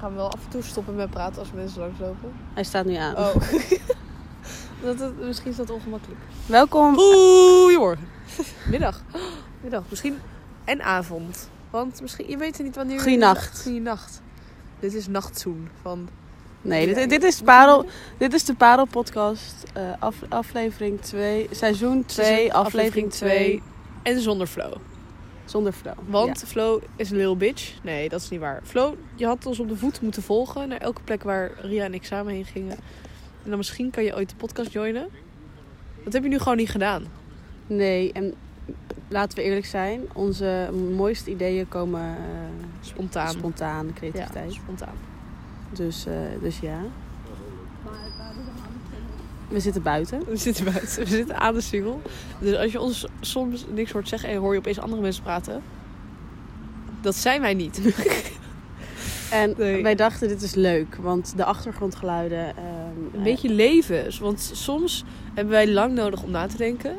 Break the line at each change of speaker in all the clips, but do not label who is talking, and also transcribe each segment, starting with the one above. gaan wel af en toe stoppen met praten als mensen langslopen.
Hij staat nu aan.
Oh. dat, dat- misschien is dat ongemakkelijk.
Welkom.
Goedemorgen. Middag. Middag. Misschien. En avond. Want misschien, je weet niet wanneer...
Goeienacht.
Goeienacht. Dit is nachtzoen van...
Nee, dit, dit, is, parel, dit is de Parel Podcast, eh, af, aflevering 2, seizoen 2, aflevering 2,
En zonder flow.
zonder flow.
Want Flo is een little bitch. Nee, dat is niet waar. Flo, je had ons op de voet moeten volgen naar elke plek waar Ria en ik samen heen gingen. En dan misschien kan je ooit de podcast joinen. Dat heb je nu gewoon niet gedaan.
Ja. Nee, en laten we eerlijk zijn, onze mooiste ideeën komen eh,
Spontaan.
spontaan, de
ja,
creativiteit.
spontaan.
Dus, eh, dus ja. We zitten buiten.
We zitten buiten. We zitten aan de single. Dus als je ons soms niks hoort zeggen en hoor je opeens andere mensen praten. Dat zijn wij niet.
En
Nee.
wij dachten, dit is leuk, want de achtergrondgeluiden... ehm,
Een beetje levens. Want soms hebben wij lang nodig om na te denken.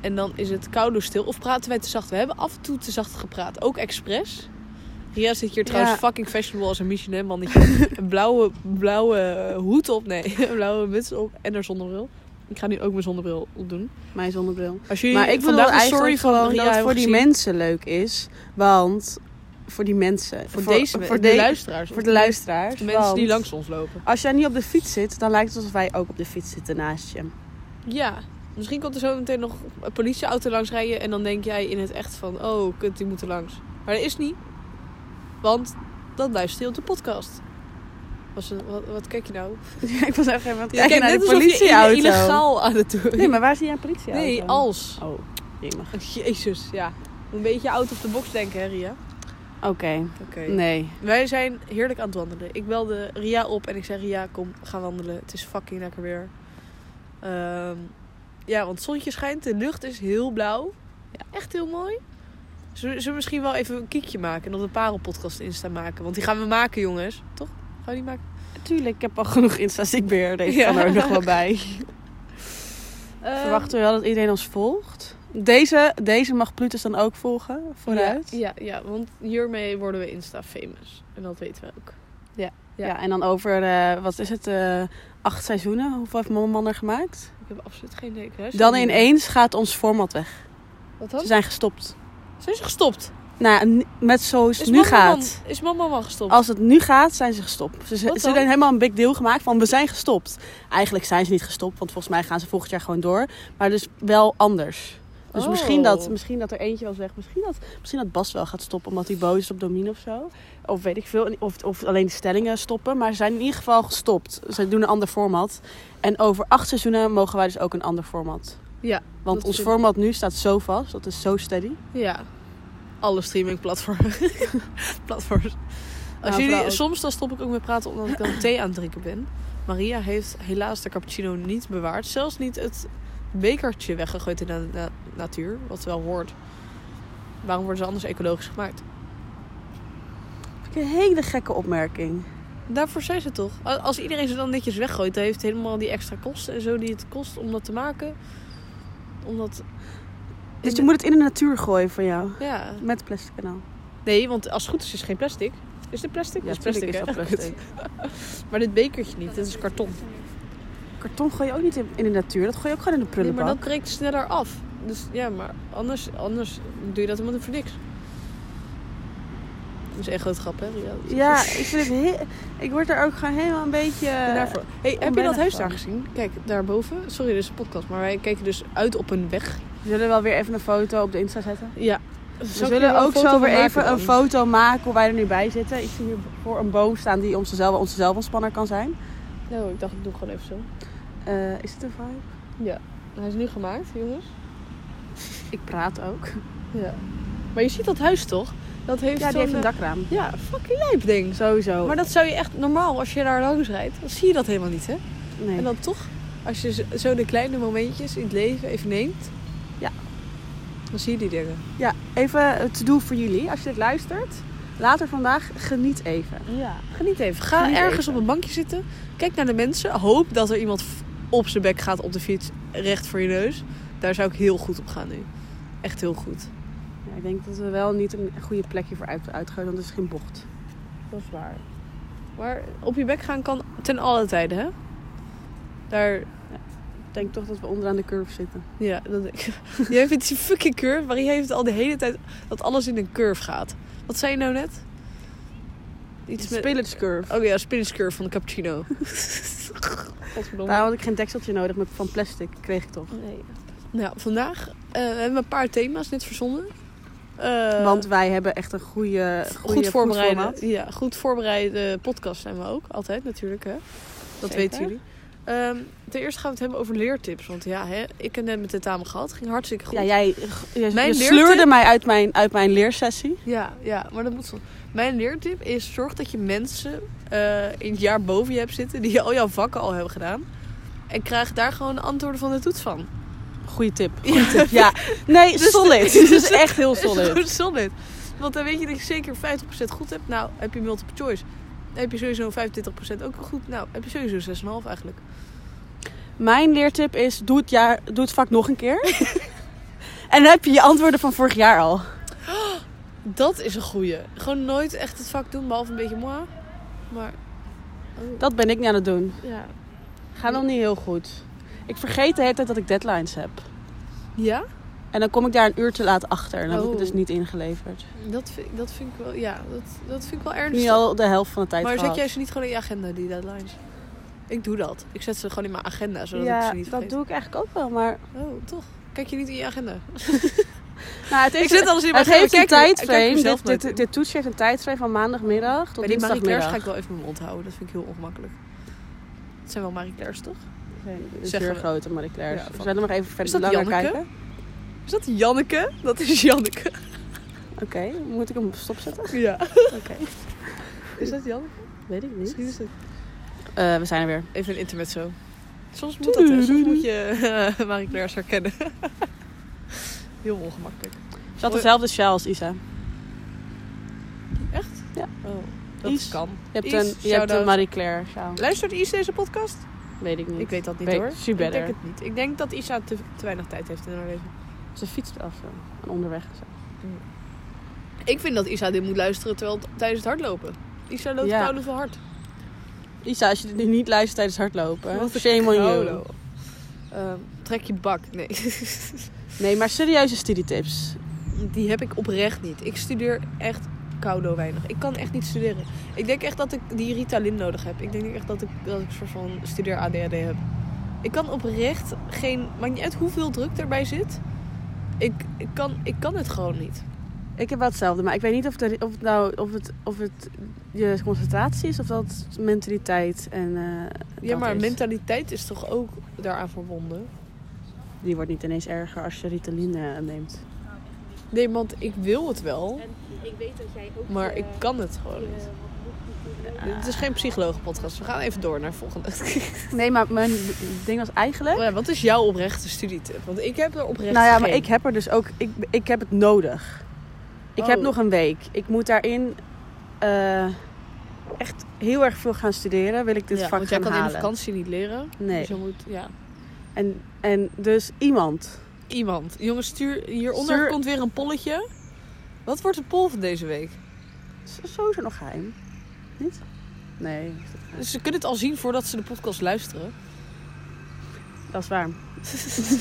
En dan is het koud door stil. Of praten wij te zacht. We hebben af en toe te zacht gepraat. Ook expres. Ria zit hier trouwens
Ja.
fucking fashionable als een Michelin mannetje. een blauwe, blauwe hoed op. Nee, een blauwe muts op. En haar zonnebril. Ik ga nu ook mijn zonnebril opdoen.
eh, mijn zonnebril.
Als jullie
Maar ik wil
vandaag een
eigenlijk
story van
gewoon
Ria
dat het
hebben
voor die
gezien-
mensen leuk is. Want voor die mensen.
Voor, deze mensen. Voor de, luisteraars.
Voor de luisteraars.
De mensen die
want
langs ons lopen.
Als jij niet op de fiets zit, dan lijkt het alsof wij ook op de fiets zitten naast je.
Ja. Misschien komt er zo meteen nog een politieauto langs rijden. En dan denk jij in het echt van... Oh, kut, die moeten langs. Maar dat is niet. Want dan luister je op de podcast. Was een- wat, wat kijk je nou?
ik was echt even aan het
Je kijkt
kijken naar
net
de
alsof je
politieauto.
illegaal aan het doen.
Nee, maar waar zie jij een politieauto?
Nee, als.
Oh, jemig.
Jezus, ja. Een beetje out of the box denken, hè, Ria?
Oké,
Oké.
nee.
Wij zijn heerlijk aan het wandelen. Ik belde Ria op en ik zei: Ria, kom, ga wandelen. Het is fucking lekker weer. Ehm, ja, want het zonnetje schijnt, de lucht is heel blauw. Ja, echt heel mooi. Zullen zullen we misschien wel even een kiekje maken en op de Parelpodcast Insta maken? Want die gaan we maken, jongens. Toch? Gaan we die maken?
Tuurlijk, ik heb al genoeg Insta-stickbeer. Deze
Ja.
kan er ook nog wel bij.
Ehm,
Verwachten we wel dat iedereen ons volgt. Deze, deze mag Plutus dan ook volgen, vooruit.
Ja, ja, ja, want hiermee worden we Insta-famous. En dat weten we ook. Ja.
Ja. en dan over, eh, wat is het, eh, acht seizoenen? Hoeveel heeft mijn man er gemaakt?
Ik heb absoluut geen idee. Ik luister
Dan
niet.
ineens gaat ons format weg.
Wat
Ze
dan?
zijn gestopt.
Zijn ze gestopt?
Nou, n- met zoals het
Is
nu
Mama Man-
gaat.
Is mama man gestopt?
Als het nu gaat, zijn ze gestopt. Ze, ze
Wat
ze
dan?
hebben helemaal een big deal gemaakt van we zijn gestopt. Eigenlijk zijn ze niet gestopt, want volgens mij gaan ze volgend jaar gewoon door. Maar dus wel anders. Dus
Oh.
misschien, dat, misschien dat er eentje wel zegt, misschien dat, misschien dat Bas wel gaat stoppen omdat hij boos is op Domine of zo. Of weet ik veel. Of, of alleen de stellingen stoppen. Maar ze zijn in ieder geval gestopt. Ze doen een ander format. En over acht seizoenen mogen wij dus ook een ander format.
Ja,
Want
dat
ons
vind-
format nu staat zo vast. Dat is zo steady.
Ja. Alle streamingplatformen. Platforms. Als
Nou, vooral
jullie,
ook.
soms dan stop ik ook met praten omdat ik dan thee aan het drinken ben. Maria heeft helaas de cappuccino niet bewaard. Zelfs niet het bekertje weggegooid in de na- natuur. Wat wel hoort. Waarom worden ze anders ecologisch gemaakt?
Vind ik een hele gekke opmerking.
Daarvoor zijn ze toch. A- Als iedereen ze dan netjes weggooit, dan heeft het helemaal die extra kosten en zo die het kost om dat te maken. Omdat.
Dus je moet het in de natuur gooien voor jou.
Ja.
Met plastic en al.
Nee, want als het goed is, is het geen plastic. Is dit plastic? Dat is plastic,
tuurlijk
hè?
plastic.
Maar dit bekertje niet, dit is karton.
Karton gooi je ook niet in, in de natuur. Dat gooi je ook gewoon in de
Nee, maar
prullenbak.
dat breekt sneller af. Dus ja, maar anders, anders doe je dat helemaal niet voor niks. Dat is één grote grap, hè? Ja. dat is-
Ja, ik vind het heel... Ik word er ook gewoon helemaal een beetje... eh,
En eh, daarvoor. Hey, heb je dat
onwennig
huis
van.
daar gezien? Kijk, daarboven. Sorry, dit is een podcast, maar wij kijken dus uit op een weg.
We zullen wel weer even een foto op de Insta zetten.
Ja.
We zullen ook zo weer even een foto maken hoe wij er nu bij zitten. Ik zie hier voor een boom staan die onze, zelf, onze zelfontspanner kan zijn.
Nee, Nou, ik dacht, ik doe gewoon even zo.
Eh, is het een vibe?
Hij is nu gemaakt, jongens.
Ik praat ook.
Ja. Maar je ziet dat huis toch? Dat heeft
Ja, die
zo'n...
heeft
eh,
een dakraam.
Ja, fucking lijp ding.
Sowieso.
Maar dat zou je echt normaal, als je daar langs rijdt, dan zie je dat helemaal niet, hè?
nee.
En dan toch, als je zo- zo de kleine momentjes in het leven even neemt,
Ja.
dan zie je die dingen.
Ja, even to do voor jullie. Als je dit luistert, later vandaag geniet even.
Ja. Geniet even. Ga
Geniet
ergens
even.
op een bankje zitten, kijk naar de mensen, hoop dat er iemand f- op zijn bek gaat op de fiets, recht voor je neus. Daar zou ik heel goed op gaan nu. Echt heel goed.
Ja, ik denk dat we wel niet een goede plekje voor uit, uitgooien, want het is geen bocht. Dat is waar.
Maar op je bek gaan kan ten alle tijden, hè? Daar,
Ik denk toch dat we onderaan de curve zitten.
ja, dat denk ik. Jij vindt die fucking curve, maar jij heeft al de hele tijd dat alles in een curve gaat. Wat zei je nou net? Iets met...
Spillage curve.
Oh ja, spinach curve van de cappuccino. Godverdomme.
Daar had ik geen dekseltje nodig, maar van plastic kreeg ik toch.
Nee. Nou, vandaag eh, hebben we een paar thema's net verzonnen. Eh,
Want wij hebben echt een goede,
goed voorbereide,
formaat.
ja, goed voorbereide podcast zijn we ook. Altijd natuurlijk, hè. Dat
Zeker.
weten jullie. Ehm, ten eerste gaan we het hebben over leertips. Want ja, hè, ik heb net mijn tentamen gehad. Ging hartstikke goed.
Ja, jij jij
Mijn
je
leertip-
sleurde mij uit mijn, uit mijn leersessie.
Ja, ja, maar dat moet zo. Mijn leertip is: zorg dat je mensen eh, in het jaar boven je hebt zitten die al jouw vakken al hebben gedaan. En krijg daar gewoon de antwoorden van de toets van.
Goeie tip. Goeie tip. Ja. Nee,
Dus-
solid. Dit is echt heel
Dat is
solid.
gewoon solid. Want dan weet je dat je zeker 50% goed hebt. Nou, heb je multiple choice. Dan heb je sowieso 25% ook goed. Nou, heb je sowieso 6,5 eigenlijk.
Mijn leertip is: doe het, jaar, doe het vak nog een keer. en dan heb je je antwoorden van vorig jaar al.
Dat is een goeie. Gewoon nooit echt het vak doen, behalve een beetje moi. Maar... Oh,
Dat ben ik nu aan het doen.
ja.
Gaat nog niet heel goed. Ik vergeet de hele tijd dat ik deadlines heb.
Ja?
En dan kom ik daar een uur te laat achter. En dan heb ik het
Oh.
dus niet ingeleverd.
Dat vind, dat vind ik wel... Ja, dat, dus dat vind ik wel ernstig.
Nu al de helft van de tijd
maar zet
gehad.
jij ze niet gewoon in je agenda, die deadlines? Ik doe dat. Ik zet ze gewoon in mijn agenda, zodat ik
ja,
ze niet vergeet.
dat doe ik eigenlijk ook wel. Maar
Oh, toch. Kijk je niet in je agenda?
nou, het, is,
Ik zet alles in mijn
het
agenda.
heeft een
Kijk me- kijk
tijdframe.
mezelf
Dit,
nooit
dit,
in.
dit toetsje heeft een tijdframe van maandagmiddag tot
Bij die Marie Claire's
dinsdagmiddag.
ga ik wel even mijn mond houden. Dat vind ik heel ongemakkelijk. Het zijn wel Marie Claire's, toch?
Dit is
Zeggen
Dus weer
we.
grote Marie Claire's.
Ja,
we
van-
zullen nog even verder
dat
langer
Janneke?
kijken.
Is dat Janneke? Dat is Janneke.
Oké, moet ik hem stopzetten?
Ja.
Oké.
Is dat Janneke?
Weet ik niet.
Misschien is het...
Eh, we zijn er weer.
Even een intermezzo. Soms moet dat, hè. Soms moet je eh, Marie Claire's herkennen. heel ongemakkelijk.
Ze had dezelfde sjaal als Isa.
Echt?
Ja.
Oh, dat
Is.
kan.
Je hebt
Is,
een, je hebt
shout-out.
een Marie Claire sjaal.
Luistert Isa deze podcast?
Weet ik niet.
Ik weet dat niet
Weet-
hoor.
she
Ik denk
better.
het niet. Ik denk dat Isa te, te weinig tijd heeft in haar leven.
Ze fietst af zo. En onderweg zo.
Ik vind dat Isa dit moet luisteren terwijl, tijdens het hardlopen. Isa loopt
Ja.
ja. veel hard.
Isa, als je dit nu niet luistert tijdens hardlopen,
Wat een
shame on you.
Hallo. Ehm, trek je bak. Nee.
Nee, maar serieuze studietips.
Die heb ik oprecht niet. Ik studeer echt koudo weinig. Ik kan echt niet studeren. Ik denk echt dat ik die Ritalin nodig heb. Ik denk echt dat ik, dat ik een soort van studeer ADHD heb. Ik kan oprecht geen... Maakt niet uit hoeveel druk erbij zit. Ik, ik, kan, ik kan het gewoon niet.
Ik heb wel hetzelfde, maar ik weet niet of, de, of, het, nou, of, het, of het je concentratie is of dat mentaliteit en eh,
Ja,
dat
maar
is.
mentaliteit is toch ook daaraan verbonden?
die wordt niet ineens erger als je Ritalin eh, neemt.
Nee, want ik wil het wel,
En ik weet dat jij ook.
maar
eh,
ik kan het gewoon
eh,
niet.
Ja.
Het is geen psychologenpodcast. We gaan even door naar het volgende.
Nee, maar mijn ding was eigenlijk...
Oh ja, wat is jouw oprechte studietip? Want ik heb er oprecht
Nou ja, maar
geen.
ik heb er dus ook... Ik, ik heb het nodig. Ik heb
Oh.
nog een week. Ik moet daarin eh, echt heel erg veel gaan studeren. Wil ik dit
Ja,
vak
want jij
gaan
kan in
halen.
de vakantie niet leren.
Nee.
Dus je moet, ja.
En, en dus iemand.
Iemand. Jongens, stuur hieronder
Stuur-
komt weer een polletje. Wat wordt de poll van deze week?
Is sowieso nog geheim. Niet? Nee, is dat, geheim?
Dus ze kunnen het al zien voordat ze de podcast luisteren.
dat is waar.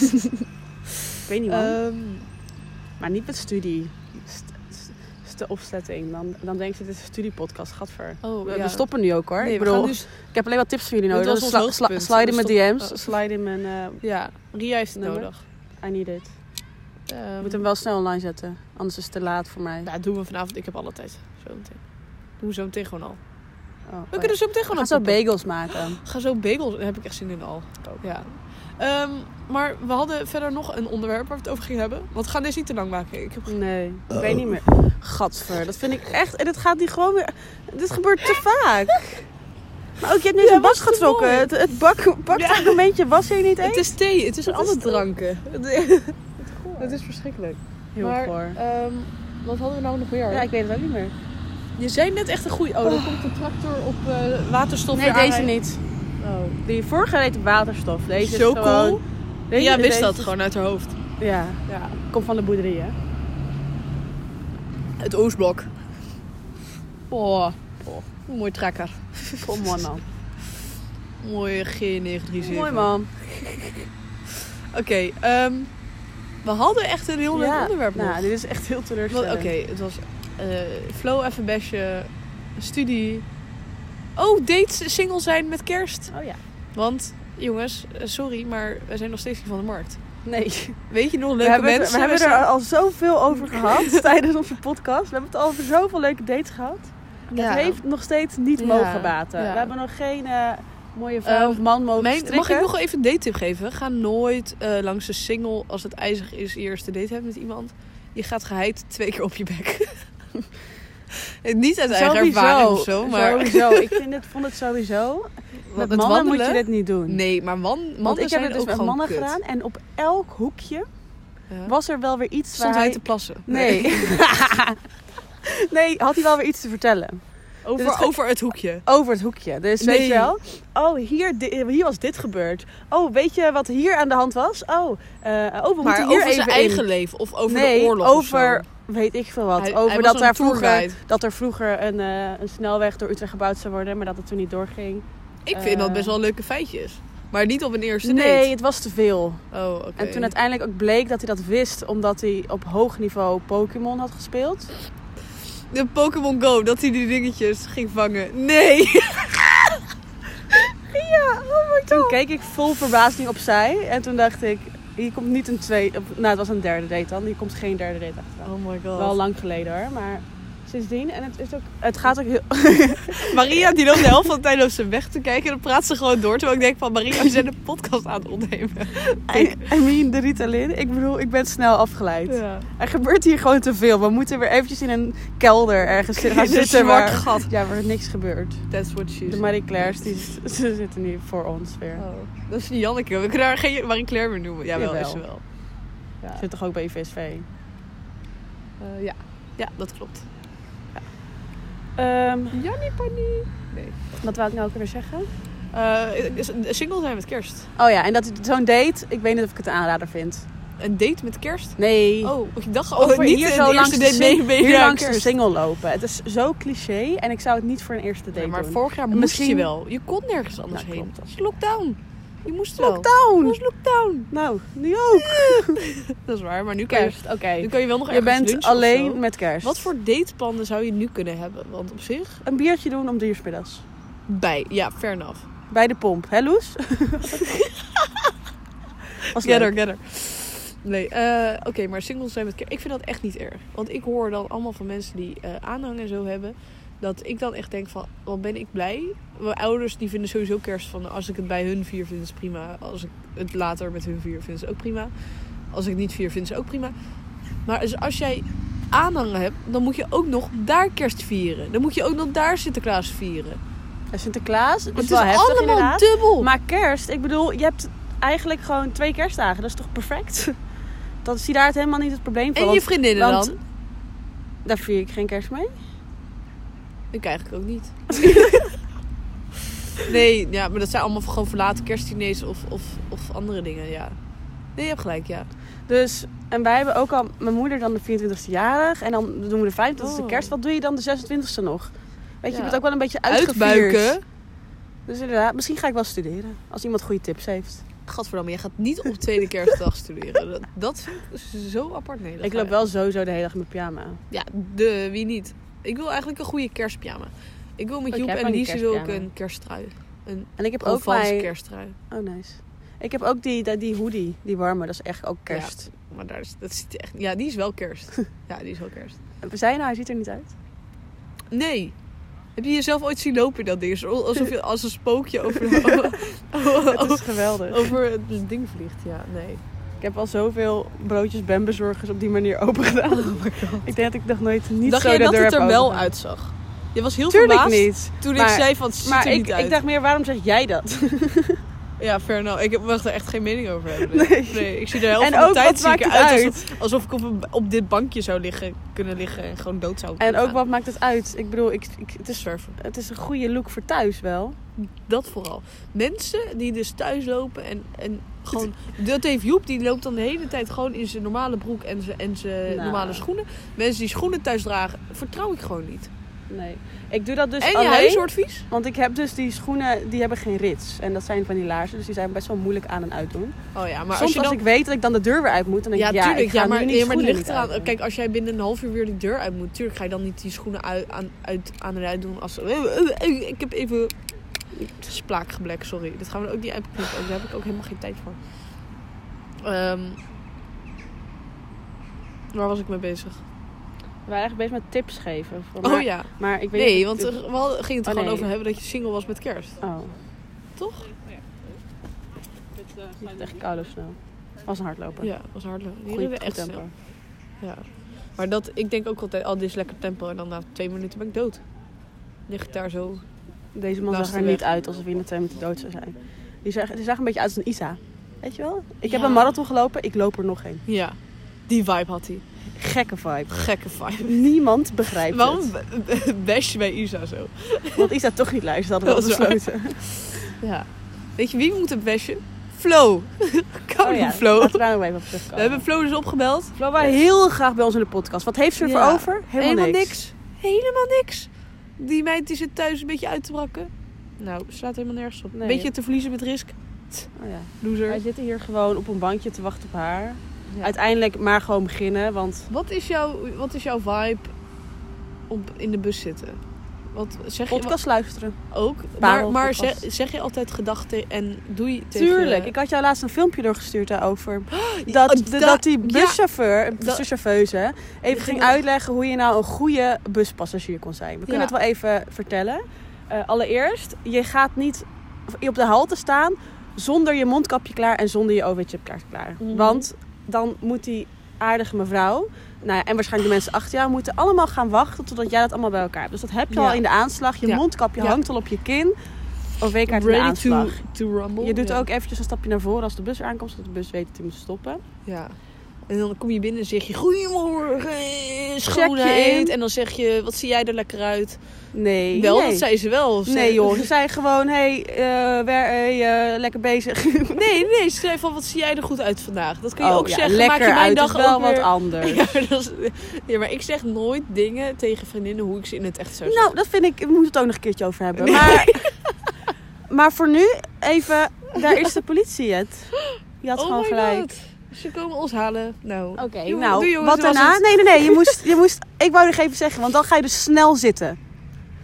ik weet niet man.
Ehm,
maar niet met studie. St st- is de opzetting. Dan, dan denk je, dit is een studiepodcast. Gadver.
oh,
We,
ja.
we stoppen nu ook hoor.
Nee,
ik
we
bedoel,
gaan dus,
ik heb alleen wat tips voor jullie
Dit
nodig.
was ons
sla- sla-
hoogtepunt.
slide in
We
mijn DM's.
stoppen-
Slide in mijn... eh,
ja, Ria heeft het
Nummer?
nodig.
I need it. Ik
Ehm,
moet hem wel snel online zetten. Anders is het te laat voor mij.
nou, doen we vanavond. Ik heb alle tijd. Zo meteen. Doen we zo meteen gewoon al.
Oh,
We kunnen zo meteen
we
gewoon
gaan
al
zo
stoppen.
bagels maken.
Ga zo bagels. Daar heb ik echt zin in al. Ja. Ehm, maar we hadden verder nog een onderwerp waar we het over gingen hebben. Want we gaan deze niet te lang maken. Ik heb...
Nee, ik weet niet meer. Gadver, dat vind ik echt. En dit gaat niet gewoon weer. Dit gebeurt te vaak. Maar ook, je hebt net
Ja,
een was
was te mooi.
getrokken. Het, het bak, bakt
Ja.
ook een beetje was hier niet eens.
Het is thee. Het is een
Wat is
andere
dat?
dranken. Het is verschrikkelijk.
heel
maar,
goor.
ehm, wat hadden we nou nog meer?
Ja, ik weet het ook niet meer.
Je zei net echt een goeie. Oh, daar komt de tractor op eh, waterstof
Nee,
weer
deze
aanrijden.
niet.
Oh.
Die vorige reed op waterstof. Deze
Zo
is gewoon...
cool.
Deze-
ja, wist
deze-
dat gewoon uit haar hoofd.
Ja,
Ja.
komt van de boerderij, hè?
Het Oostblok. Oh,
vol.
Mooi trekker.
Kom on man.
Mooi G937.
Mooi man.
Oké, ehm, we hadden echt een heel leuk
Ja.
onderwerp nog.
Nou, dit is echt heel
Want, Oké,
teleurstellend.
het was eh flow even besje, studie. Oh, dates single zijn met kerst.
Oh ja.
Want jongens, eh, sorry, maar we zijn nog steeds niet van de markt.
Nee.
Weet je nog
We
leuke
hebben, het-
mensen?
we hebben
zijn-
er al zoveel over gehad tijdens onze podcast. We hebben het al over zoveel leuke dates gehad.
Ja.
Het heeft nog steeds niet
Ja.
mogen baten.
Ja.
We hebben nog geen eh, mooie vrouw
Ehm,
of man mogen
Mijn-
strikken.
mag ik nog wel even een date tip geven? Ga nooit eh, langs de single als het ijzig is je eerste date hebt met iemand. Je gaat geheid twee keer op je bek. En Niet uit eigen ervaring of zo, maar
Sowieso. Ik vind het, vond het sowieso.
Want
Met
het
mannen moet je
wandelen-
dit niet doen.
Nee, maar man, mannen
Want ik heb
zijn
het dus
ook
met
gewoon
mannen
kut.
gedaan. En op elk hoekje
Ja.
was er wel weer iets
Stond
waar
hij te plassen?
Nee. nee, had hij wel weer iets te vertellen.
Over,
Dus het-
over het hoekje.
Over het hoekje. Dus weet
Nee.
je wel? Oh, hier, di- hier was dit gebeurd. Oh, weet je wat hier aan de hand was? Oh, eh oh we
maar
moeten hier
over
even
zijn
in.
eigen leven of over
nee,
de oorlog
over
of zo.
weet ik veel wat.
Hij-
over
hij was
dat,
op
daar
een
vroeger,
tourguide.
dat er vroeger een, eh, een snelweg door Utrecht gebouwd zou worden, maar dat het toen niet doorging.
Ik vind dat best wel leuke feitjes. Maar niet op een eerste
Eh. Nee,
date.
het was te veel.
Oh, oké.
En toen uiteindelijk ook bleek dat hij dat wist omdat hij op hoog niveau Pokémon had gespeeld.
De Pokémon Go, dat hij die dingetjes ging vangen. Nee!
Ja, oh my god. Toen keek ik vol verbazing opzij en toen dacht ik, hier komt niet een tweede, nou het was een derde date dan, hier komt geen derde date achteraan.
Oh my god.
Wel lang geleden hoor, maar sindsdien en het is ook, het gaat ook heel,
Maria die loopt de helft van de tijd loopt ze weg te kijken en dan praat ze gewoon door. Terwijl ik denk van Maria, we zijn een podcast aan het opnemen.
I, I mean de Ritalin, ik bedoel ik ben snel afgeleid. Er gebeurt hier gewoon te veel, we moeten weer eventjes in een kelder ergens
In
gaan
een
zitten
zwart
waar,
gat.
ja, waar niks gebeurt.
That's what she
dus De
said.
Marie Claire's die, z- ze zitten nu voor ons weer.
Oh, Dat is die Janneke. We kunnen haar geen Marie Claire meer noemen. Jawel,
Jawel.
is ze wel.
Ja. Zit toch ook bij VSV?
Eh, ja. ja, dat klopt.
Ehm,
Jannie Panie.
wat wou ik nou ook weer zeggen?
Eh, single zijn met kerst.
Oh ja, en dat zo'n date, ik weet niet of ik het een aanrader vind.
Een date met kerst?
Nee.
Oh, ik dacht
Of
oh, niet
hier
een
zo
eerste
langs, de,
date
sing-
mee- mee
hier
naar
langs de
kerst.
single lopen. Het is zo cliché en ik zou het niet voor een eerste date
Nee, maar
doen.
vorig jaar moest
Misschien-
je wel. Je kon nergens anders
Nou,
heen.
klopt, dat
Het
is
is lockdown. Je moest wel. Het was
Lockdown!
lockdown.
Nou, nu ook.
Dat is waar, maar nu kan je,
Kerst, oké.
nu kan je wel nog
Je
ergens
bent
lunchen of zo.
alleen met kerst.
Wat voor dateplannen zou je nu kunnen hebben? Want op zich,
Een biertje doen om drie uur 's middags.
bij. Ja, fair enough.
Bij de pomp, hè Loes? Was leuk.
Getter, getter. Nee, eh, oké, maar singles zijn met kerst. Ik vind dat echt niet erg. Want ik hoor dan allemaal van mensen die eh, aanhang en zo hebben. Dat ik dan echt denk van, wat ben ik blij. Mijn ouders die vinden sowieso kerst van, als ik het bij hun vier vind is prima. Als ik het later met hun vier vind is ook prima. Als ik het niet vier vind is ook prima. Maar dus als jij aanhangen hebt, dan moet je ook nog daar kerst vieren. Dan moet je ook nog daar Sinterklaas vieren.
En Sinterklaas, het
Het
is
is
wel heftig
allemaal
inderdaad.
dubbel.
Maar kerst, ik bedoel, je hebt eigenlijk gewoon twee kerstdagen. Dat is toch perfect? Dat is daar het helemaal niet het probleem van.
en je
want
vriendinnen
want-
dan?
Daar vier ik geen kerst mee.
Ik eigenlijk ook niet. nee, ja, maar dat zijn allemaal gewoon verlaten kerstdiners of, of, of andere dingen, ja. Nee, je hebt gelijk, ja.
Dus, en wij hebben ook al mijn moeder dan de 24e jarig. En dan doen we de 25e
Oh.
kerst. Wat doe je dan de 26e nog? Weet je,
Ja.
je bent ook wel een beetje uitgevierd.
Uitbuiken.
Dus inderdaad, misschien ga ik wel studeren. Als iemand goede tips heeft.
Gadverdamme, je gaat niet op tweede kerstdag studeren. Dat, dat vind ik dus zo apart. Nee, dat
ik
ga
loop
je-
wel sowieso de hele dag in mijn pyjama.
Ja, de, wie niet. Ik wil eigenlijk een goede kerstpyjama. Ik wil met
Oh, Ik
Joep
heb
en
een
Liesje wil ik
kerstpyjama.
een kersttrui.
En ik heb
Ook
ook
valse
mijn...
kersttrui.
Oh, nice. Ik heb ook die, die, die hoodie, die warme. Dat is echt ook kerst.
Maar daar is, dat is echt... Ja, die is wel kerst. Ja, die is wel kerst.
We Zei je nou, hij ziet er niet uit.
Nee. Heb je jezelf ooit zien lopen in dat ding? Zo- Alsof je als een spookje over,
Het
Oh.
is geweldig.
over het ding vliegt. Ja, nee.
Ik heb al zoveel broodjes bezorgers op die manier open gedaan. ik denk dat ik nog nooit niet
Oh dacht
zo
jij
de
dat
deur
het er
heb
wel
opengedaan.
uitzag? Je was heel
Tuurlijk
verbaasd
niet.
toen
Maar-
ik zei van het ziet
Maar
er
ik,
niet uit.
ik dacht meer, waarom zeg jij dat?
Ja, fair enough. Ik heb- mag er echt geen mening over hebben. Nee.
Nee.
Nee, ik zie de helft
En
van de
ook, wat
tijd zie ik
maakt het
eruit
uit?
Alsof, alsof ik op, een- op dit bankje zou liggen, kunnen liggen en gewoon dood zou
En
kunnen
ook,
gaan.
wat maakt het uit? Ik bedoel, ik, ik, het,
te
is,
surfen.
het is een goede look voor thuis wel.
Dat vooral. Mensen die dus thuis lopen en, en gewoon... Dat heeft Joep, die loopt dan de hele tijd gewoon in zijn normale broek en zijn, en zijn
Nou.
normale schoenen. Mensen die schoenen thuis dragen, vertrouw ik gewoon niet.
Nee. Ik doe dat dus
en je
alleen.
huis wordt vies?
Want ik heb dus die schoenen, die hebben geen rits. En dat zijn van die laarzen, dus die zijn best wel moeilijk aan en uit doen.
Oh ja, maar
Soms
als
als,
je dan...
ik weet dat ik dan de deur weer uit moet, dan denk
ja,
ik, ja,
tuurlijk.
ik ga
ja,
nu
maar,
niet
nee, maar het
schoenen
ligt
niet
eraan.
uitdoen.
Kijk, als jij binnen een half uur weer die deur uit moet, tuurlijk ga je dan niet die schoenen uit, aan, uit, aan en uit doen. Als... Ik heb even spraakgebrek, sorry. Dit gaan we ook niet uitknippen. Daar heb ik ook helemaal geen tijd voor. Ehm, waar was ik mee bezig?
We waren echt bezig met tips geven. Voor
Oh
maar-
ja.
Maar ik weet
Nee,
niet-
want er, we hadden- gingen het er
Oh,
gewoon
nee.
over hebben dat je single was met kerst.
Oh,
Toch?
het is echt koude snel. Was een hardloper.
Ja, was hardlopen. Die
Goeie-
reden
goed
echt
tempo.
snel. Ja. Maar dat, ik denk ook altijd, oh, dit is lekker tempo. En dan na twee minuten ben ik dood. Ligt ik daar zo.
Deze man
Naast
zag er
de weg.
niet uit alsof hij in de twee minuten dood zou zijn. Die zag, die zag een beetje uit als een Isa. Weet je wel? Ik heb
Ja.
een marathon gelopen, ik loop er nog een.
Ja. Die vibe had hij.
Gekke vibe.
Gekke vibe.
Niemand begrijpt
Waarom b- b- bash je bij Isa zo?
het. Want Isa toch niet luistert, hadden we
Dat
al
is waar.
besloten.
Ja. Weet je wie we moeten bashen? Flo.
Oh
Koude Flo.
Laten we daar nog even op terugkomen.
We hebben Flo dus opgebeld.
Flo wou heel graag bij ons in de podcast. Wat heeft ze ervoor
Ja.
over? Helemaal, niks.
Helemaal niks. Die meid die zit thuis een beetje uit te brakken. Nou, slaat helemaal nergens op.
Nee.
Beetje te verliezen met risk.
Oh ja.
Loser.
Wij zitten hier gewoon op een bankje te wachten op haar.
Ja.
Uiteindelijk maar gewoon beginnen, want
Wat is jouw, wat is jouw vibe op, in de bus zitten? Wat zeg je
podcast luisteren.
wat- ook? Maar,
Parel
maar zeg,
podcast.
zeg je altijd gedachten en doe je tegen...
Tuurlijk. Ik had jou laatst een filmpje doorgestuurd daarover. Dat,
oh,
de-
da-
dat die
ja.
buschauffeur,
Dat-
buschauffeuse, even ging
ging-
uitleggen hoe je nou een goede buspassagier kon zijn. We
Ja.
kunnen het wel even vertellen. Eh, allereerst, je gaat niet op de halte staan zonder je mondkapje klaar en zonder je OV-chip klaar. klaar.
Mhm.
Want dan moet die aardige mevrouw, nou ja, en waarschijnlijk de mensen achter jou, moeten allemaal gaan wachten totdat jij dat allemaal bij elkaar hebt. Dus dat heb je
Ja.
al in de aanslag. Je
Ja.
mondkapje
Ja.
hangt al op je kin. OV-kaart in de
Ready
aanslag.
to, to rumble.
Je doet
Ja.
ook eventjes een stapje naar voren als de bus aankomt, zodat de bus weet dat hij moet stoppen.
Ja. En dan kom je binnen en zeg je... Goedemorgen, eh,
in.
schoonheid. En dan zeg je... Wat zie jij er lekker uit?
Nee.
Wel,
nee.
dat zei ze wel. Ze-
Nee joh, ze zei gewoon, hé, hey, eh, wer- hey, eh, lekker bezig.
Nee, nee, ze zei van wat zie jij er goed uit vandaag? Dat kun je
Oh,
ook
ja,
zeggen,
lekker
maak je mijn
uit
dag
is wel
ook
wat
weer...
anders.
Ja, dat is- ja, maar ik zeg nooit dingen tegen vriendinnen hoe ik ze in het echt zou
Nou, dat vind ik, we moeten het ook nog een keertje over hebben. Maar, maar voor nu even, daar is de politie het. Je
zeggen.
had gewoon
Oh my
gelijk.
God. Ze komen ons halen. Nou,
Oké,
Jongen,
nou,
doe jongens,
wat
dat was
daarna?
het.
Nee, nee, nee, je moest, je moest, ik wou nog even zeggen, want dan ga je dus snel zitten.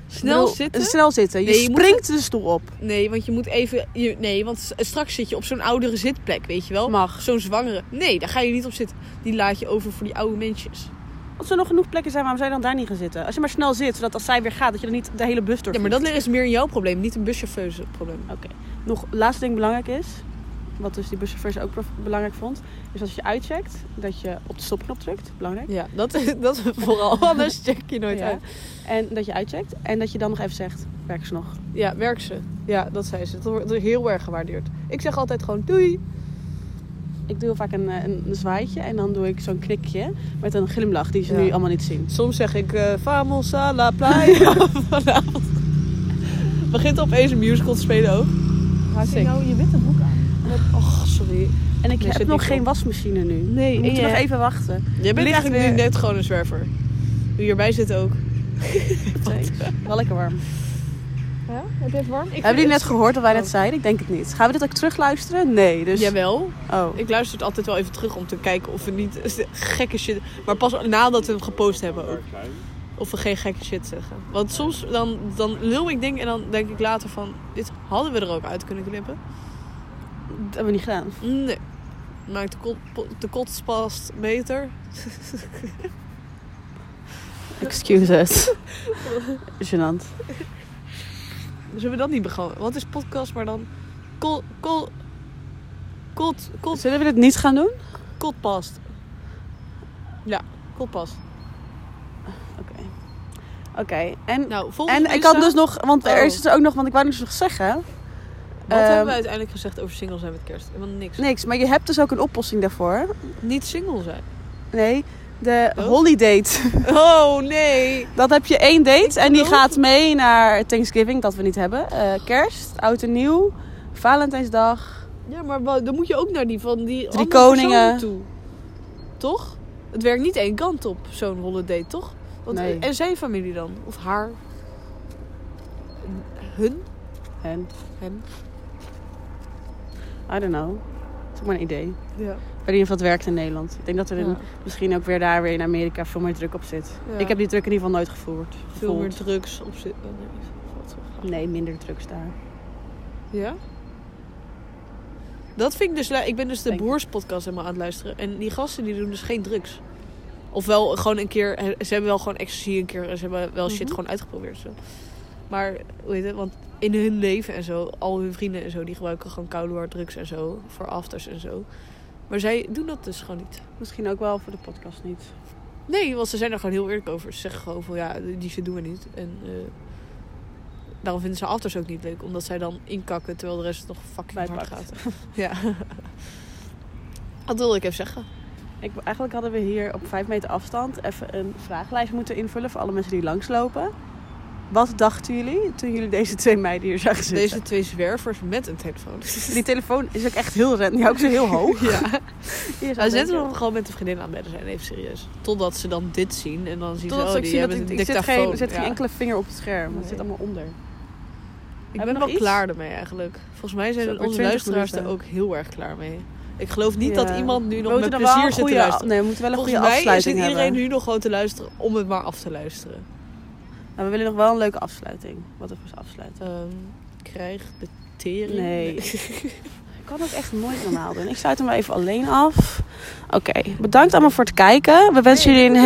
snel
Ik bedoel,
zitten.
Snel zitten, je
Nee, je moet-
springt de stoel op.
Nee, want je moet even. Je, nee, want s- straks zit je op zo'n oudere zitplek, weet je wel?
Mag.
Zo'n zwangere. Nee, daar ga je niet op zitten. Die laat je over voor die oude mensjes.
Als er nog genoeg plekken zijn, waarom zou je dan daar niet gaan zitten? Als je maar snel zit, zodat als zij weer gaat, dat je dan niet de hele bus door.
Ja, maar dat is meer jouw probleem, niet een buschauffeur's probleem.
Nog laatste ding belangrijk is, wat dus die buschauffeurs ook prof- belangrijk vond, is als je uitcheckt, dat je op de stopknop drukt. Belangrijk.
Ja, dat, dat vooral. Anders check je nooit
Ja.
uit.
En dat je uitcheckt en dat je dan nog even zegt, werk ze nog.
Ja, werk ze. Ja, dat zei ze. Dat wordt heel erg gewaardeerd. Ik zeg altijd gewoon doei.
Ik doe heel vaak een, eh, een, een zwaaitje en dan doe ik zo'n knikje met een glimlach die ze
Ja.
nu allemaal niet zien.
Soms zeg ik eh vamos a la playa vanavond. Begint opeens een musical te spelen ook.
Waar
Sick.
nou je witte broek aan?
Och, sorry.
En ik
Nee, zit
heb nog
niet
geen
op.
wasmachine nu.
Nee,
We
en
moeten
je-
nog even wachten.
Jij bent
Ligt
eigenlijk nu
weer-
net gewoon een zwerver. Wie hierbij zit ook.
Wel lekker warm.
Ja, heb je het warm? Ik
Hebben jullie net
het-
gehoord wat wij net
Oh.
zeiden? Ik denk het niet. Gaan we dit ook terugluisteren? Nee, dus...
Jawel.
Oh.
Ik luister het altijd wel even terug om te kijken of we niet gekke shit... Maar pas nadat we hem gepost hebben ook. Of we geen gekke shit zeggen. Want soms dan, dan lul ik dingen en dan denk ik later van... Dit hadden we er ook uit kunnen knippen.
Dat hebben we niet gedaan.
Nee. Maakt de, kot, de kots past beter.
Excuses. Gênant.
Zullen we dat niet begonnen? Wat is podcast, maar dan... Kol, kol, kot, kot,
Zullen we dit niet gaan doen?
kot past. Ja, kot past.
Oké. Oké. En,
Nou, volgens
en
mij
ik had
staan-
dus nog, want er
Oh.
is dus ook nog, want ik wou dus nog zeggen.
Wat
ehm,
hebben we uiteindelijk gezegd over single zijn met kerst? Helemaal niks.
Niks, maar je hebt dus ook een oplossing daarvoor.
Niet single zijn.
Nee, de
Dood?
holiday.
Oh, nee.
Dat heb je één date en die
geloof
gaat mee naar Thanksgiving, dat we niet hebben. Eh, kerst, oud en nieuw, Valentijnsdag.
Ja, maar wa- dan moet je ook naar die van die andere
koningen.
persoon toe. Toch? Het werkt niet één kant op, zo'n holiday, toch? Want, eh,
Nee.
En zijn familie dan? Of haar? Hun?
En,
Hen?
I don't know. Het is ook maar een idee. Maar
Ja.
in ieder geval, het werkt in Nederland. Ik denk dat er in,
Ja.
misschien ook weer daar weer in Amerika veel meer druk op zit.
Ja.
Ik heb die druk in ieder geval nooit gevoerd.
veel meer
gevoeld.
drugs op zit. oh, nee, valt wel graag.
Nee, minder drugs daar.
Ja? Dat vind ik dus... lu- Ik ben dus de
Denk ik.
Boerspodcast helemaal aan het luisteren. En die gasten die doen dus geen drugs. Ofwel gewoon een keer... eh, Ze hebben wel gewoon ecstasy een keer... en Ze hebben wel shit
Mhm.
gewoon uitgeprobeerd. Zo. Maar, hoe heet het? Want in hun leven en zo... Al hun vrienden en zo... Die gebruiken gewoon koude hard drugs en zo. Voor afters en zo. Maar zij doen dat dus gewoon niet.
Misschien ook wel voor de podcast niet.
Nee, want ze zijn er gewoon heel eerlijk over. Ze zeggen gewoon van ja, die shit doen we niet. En eh, daarom vinden ze afters ook niet leuk. Omdat zij dan inkakken terwijl de rest nog fucking hard gaat.
Bijpakt.
Ja. Dat wilde ik even zeggen.
Ik, eigenlijk hadden we hier op vijf meter afstand even een vragenlijst moeten invullen voor alle mensen die langslopen. Wat dachten jullie toen jullie deze twee meiden hier zagen zitten?
Deze twee zwervers met een telefoon.
Die telefoon is ook echt heel rent. Ja, ook zo heel hoog.
Ja.
Hier
Hij
zou
zet
denken-
hem gewoon met de vriendin aan het bedden zijn, even serieus. Totdat ze dan dit zien en dan zien ze,
Totdat
oh,
ze ook
die
zien dat
hebben
ik,
een
ik zet, geen,
dictafoon.
er zit
Ja.
geen enkele vinger op het scherm. Het
Nee.
zit allemaal onder.
Ik ben
Hebben we
wel
nog iets?
klaar ermee eigenlijk. Volgens mij
Zo,
zijn
maar
onze
20
luisteraars er
minuten.
ook heel erg klaar mee. Ik geloof niet dat
Ja.
iemand nu
We
nog
moeten
met
dan wel
plezier
een
zit te
goede-
luisteren.
Nee, we moeten wel een
Volgens
goede
mij zit
afsluiting
iedereen
hebben.
nu nog gewoon te luisteren om het maar af te luisteren.
Nou, we willen nog wel een leuke afsluiting. Wat even afsluiten.
Ehm, krijg de tering.
Nee. Ik kan ook echt nooit normaal doen. Ik sluit hem maar even alleen af. Oké, bedankt allemaal voor het kijken. We wensen jullie een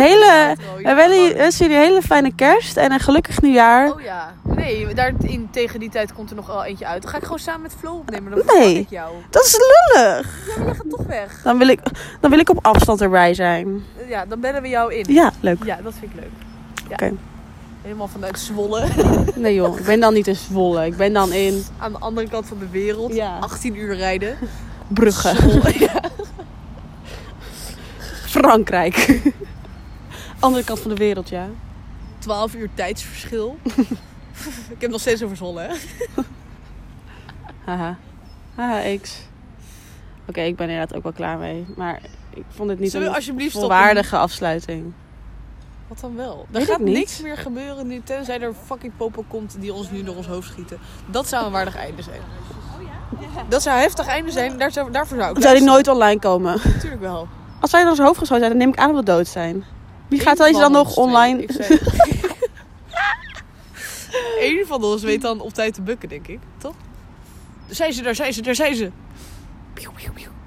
hele... Eh, We willen- wensen jullie een hele fijne kerst en een gelukkig nieuwjaar.
Oh ja. Nee, daar, in, tegen die tijd komt er nog wel eentje uit. Dan ga ik gewoon samen met Flo opnemen. Dan
Nee.
verpak ik jou.
Dat is lullig.
Ja, maar jij gaat toch weg.
Dan wil ik, dan wil ik op afstand erbij zijn.
Ja, dan bellen we jou in.
Ja, leuk.
Ja, dat vind ik leuk. Ja.
Oké.
Helemaal vanuit Zwolle.
Nee joh, ik ben dan niet in Zwolle. Ik ben dan in
Aan de andere kant van de wereld.
Ja.
18 uur rijden.
Brugge. Frankrijk. Andere kant van de wereld, ja.
12 uur tijdsverschil. ik heb nog steeds over Zwolle, hè?
Haha. Haha, X. Oké, ik ben inderdaad ook wel klaar mee. Maar ik vond het niet
Zullen we
een
alsjeblieft stoppen?
volwaardige afsluiting.
Wat dan wel? Er
Weet ik
gaat
niet.
niks meer gebeuren nu, tenzij er fucking popel komt die ons nu door ons hoofd schieten. Dat zou een waardig einde zijn. Dat zou een heftig einde zijn, daar zou, daarvoor zou ik
Zou die nooit online komen?
Natuurlijk wel.
Als wij in ons hoofd geschoten zijn, dan neem ik aan dat we dood zijn. Wie gaat deze dan
Eén van
nog
ons twee.
online?
Ik zei- Eén van ons weet dan op tijd te bukken, denk ik. Toch? Daar zijn ze, daar zijn ze, daar zijn ze. Pieuw, pieuw, pieuw.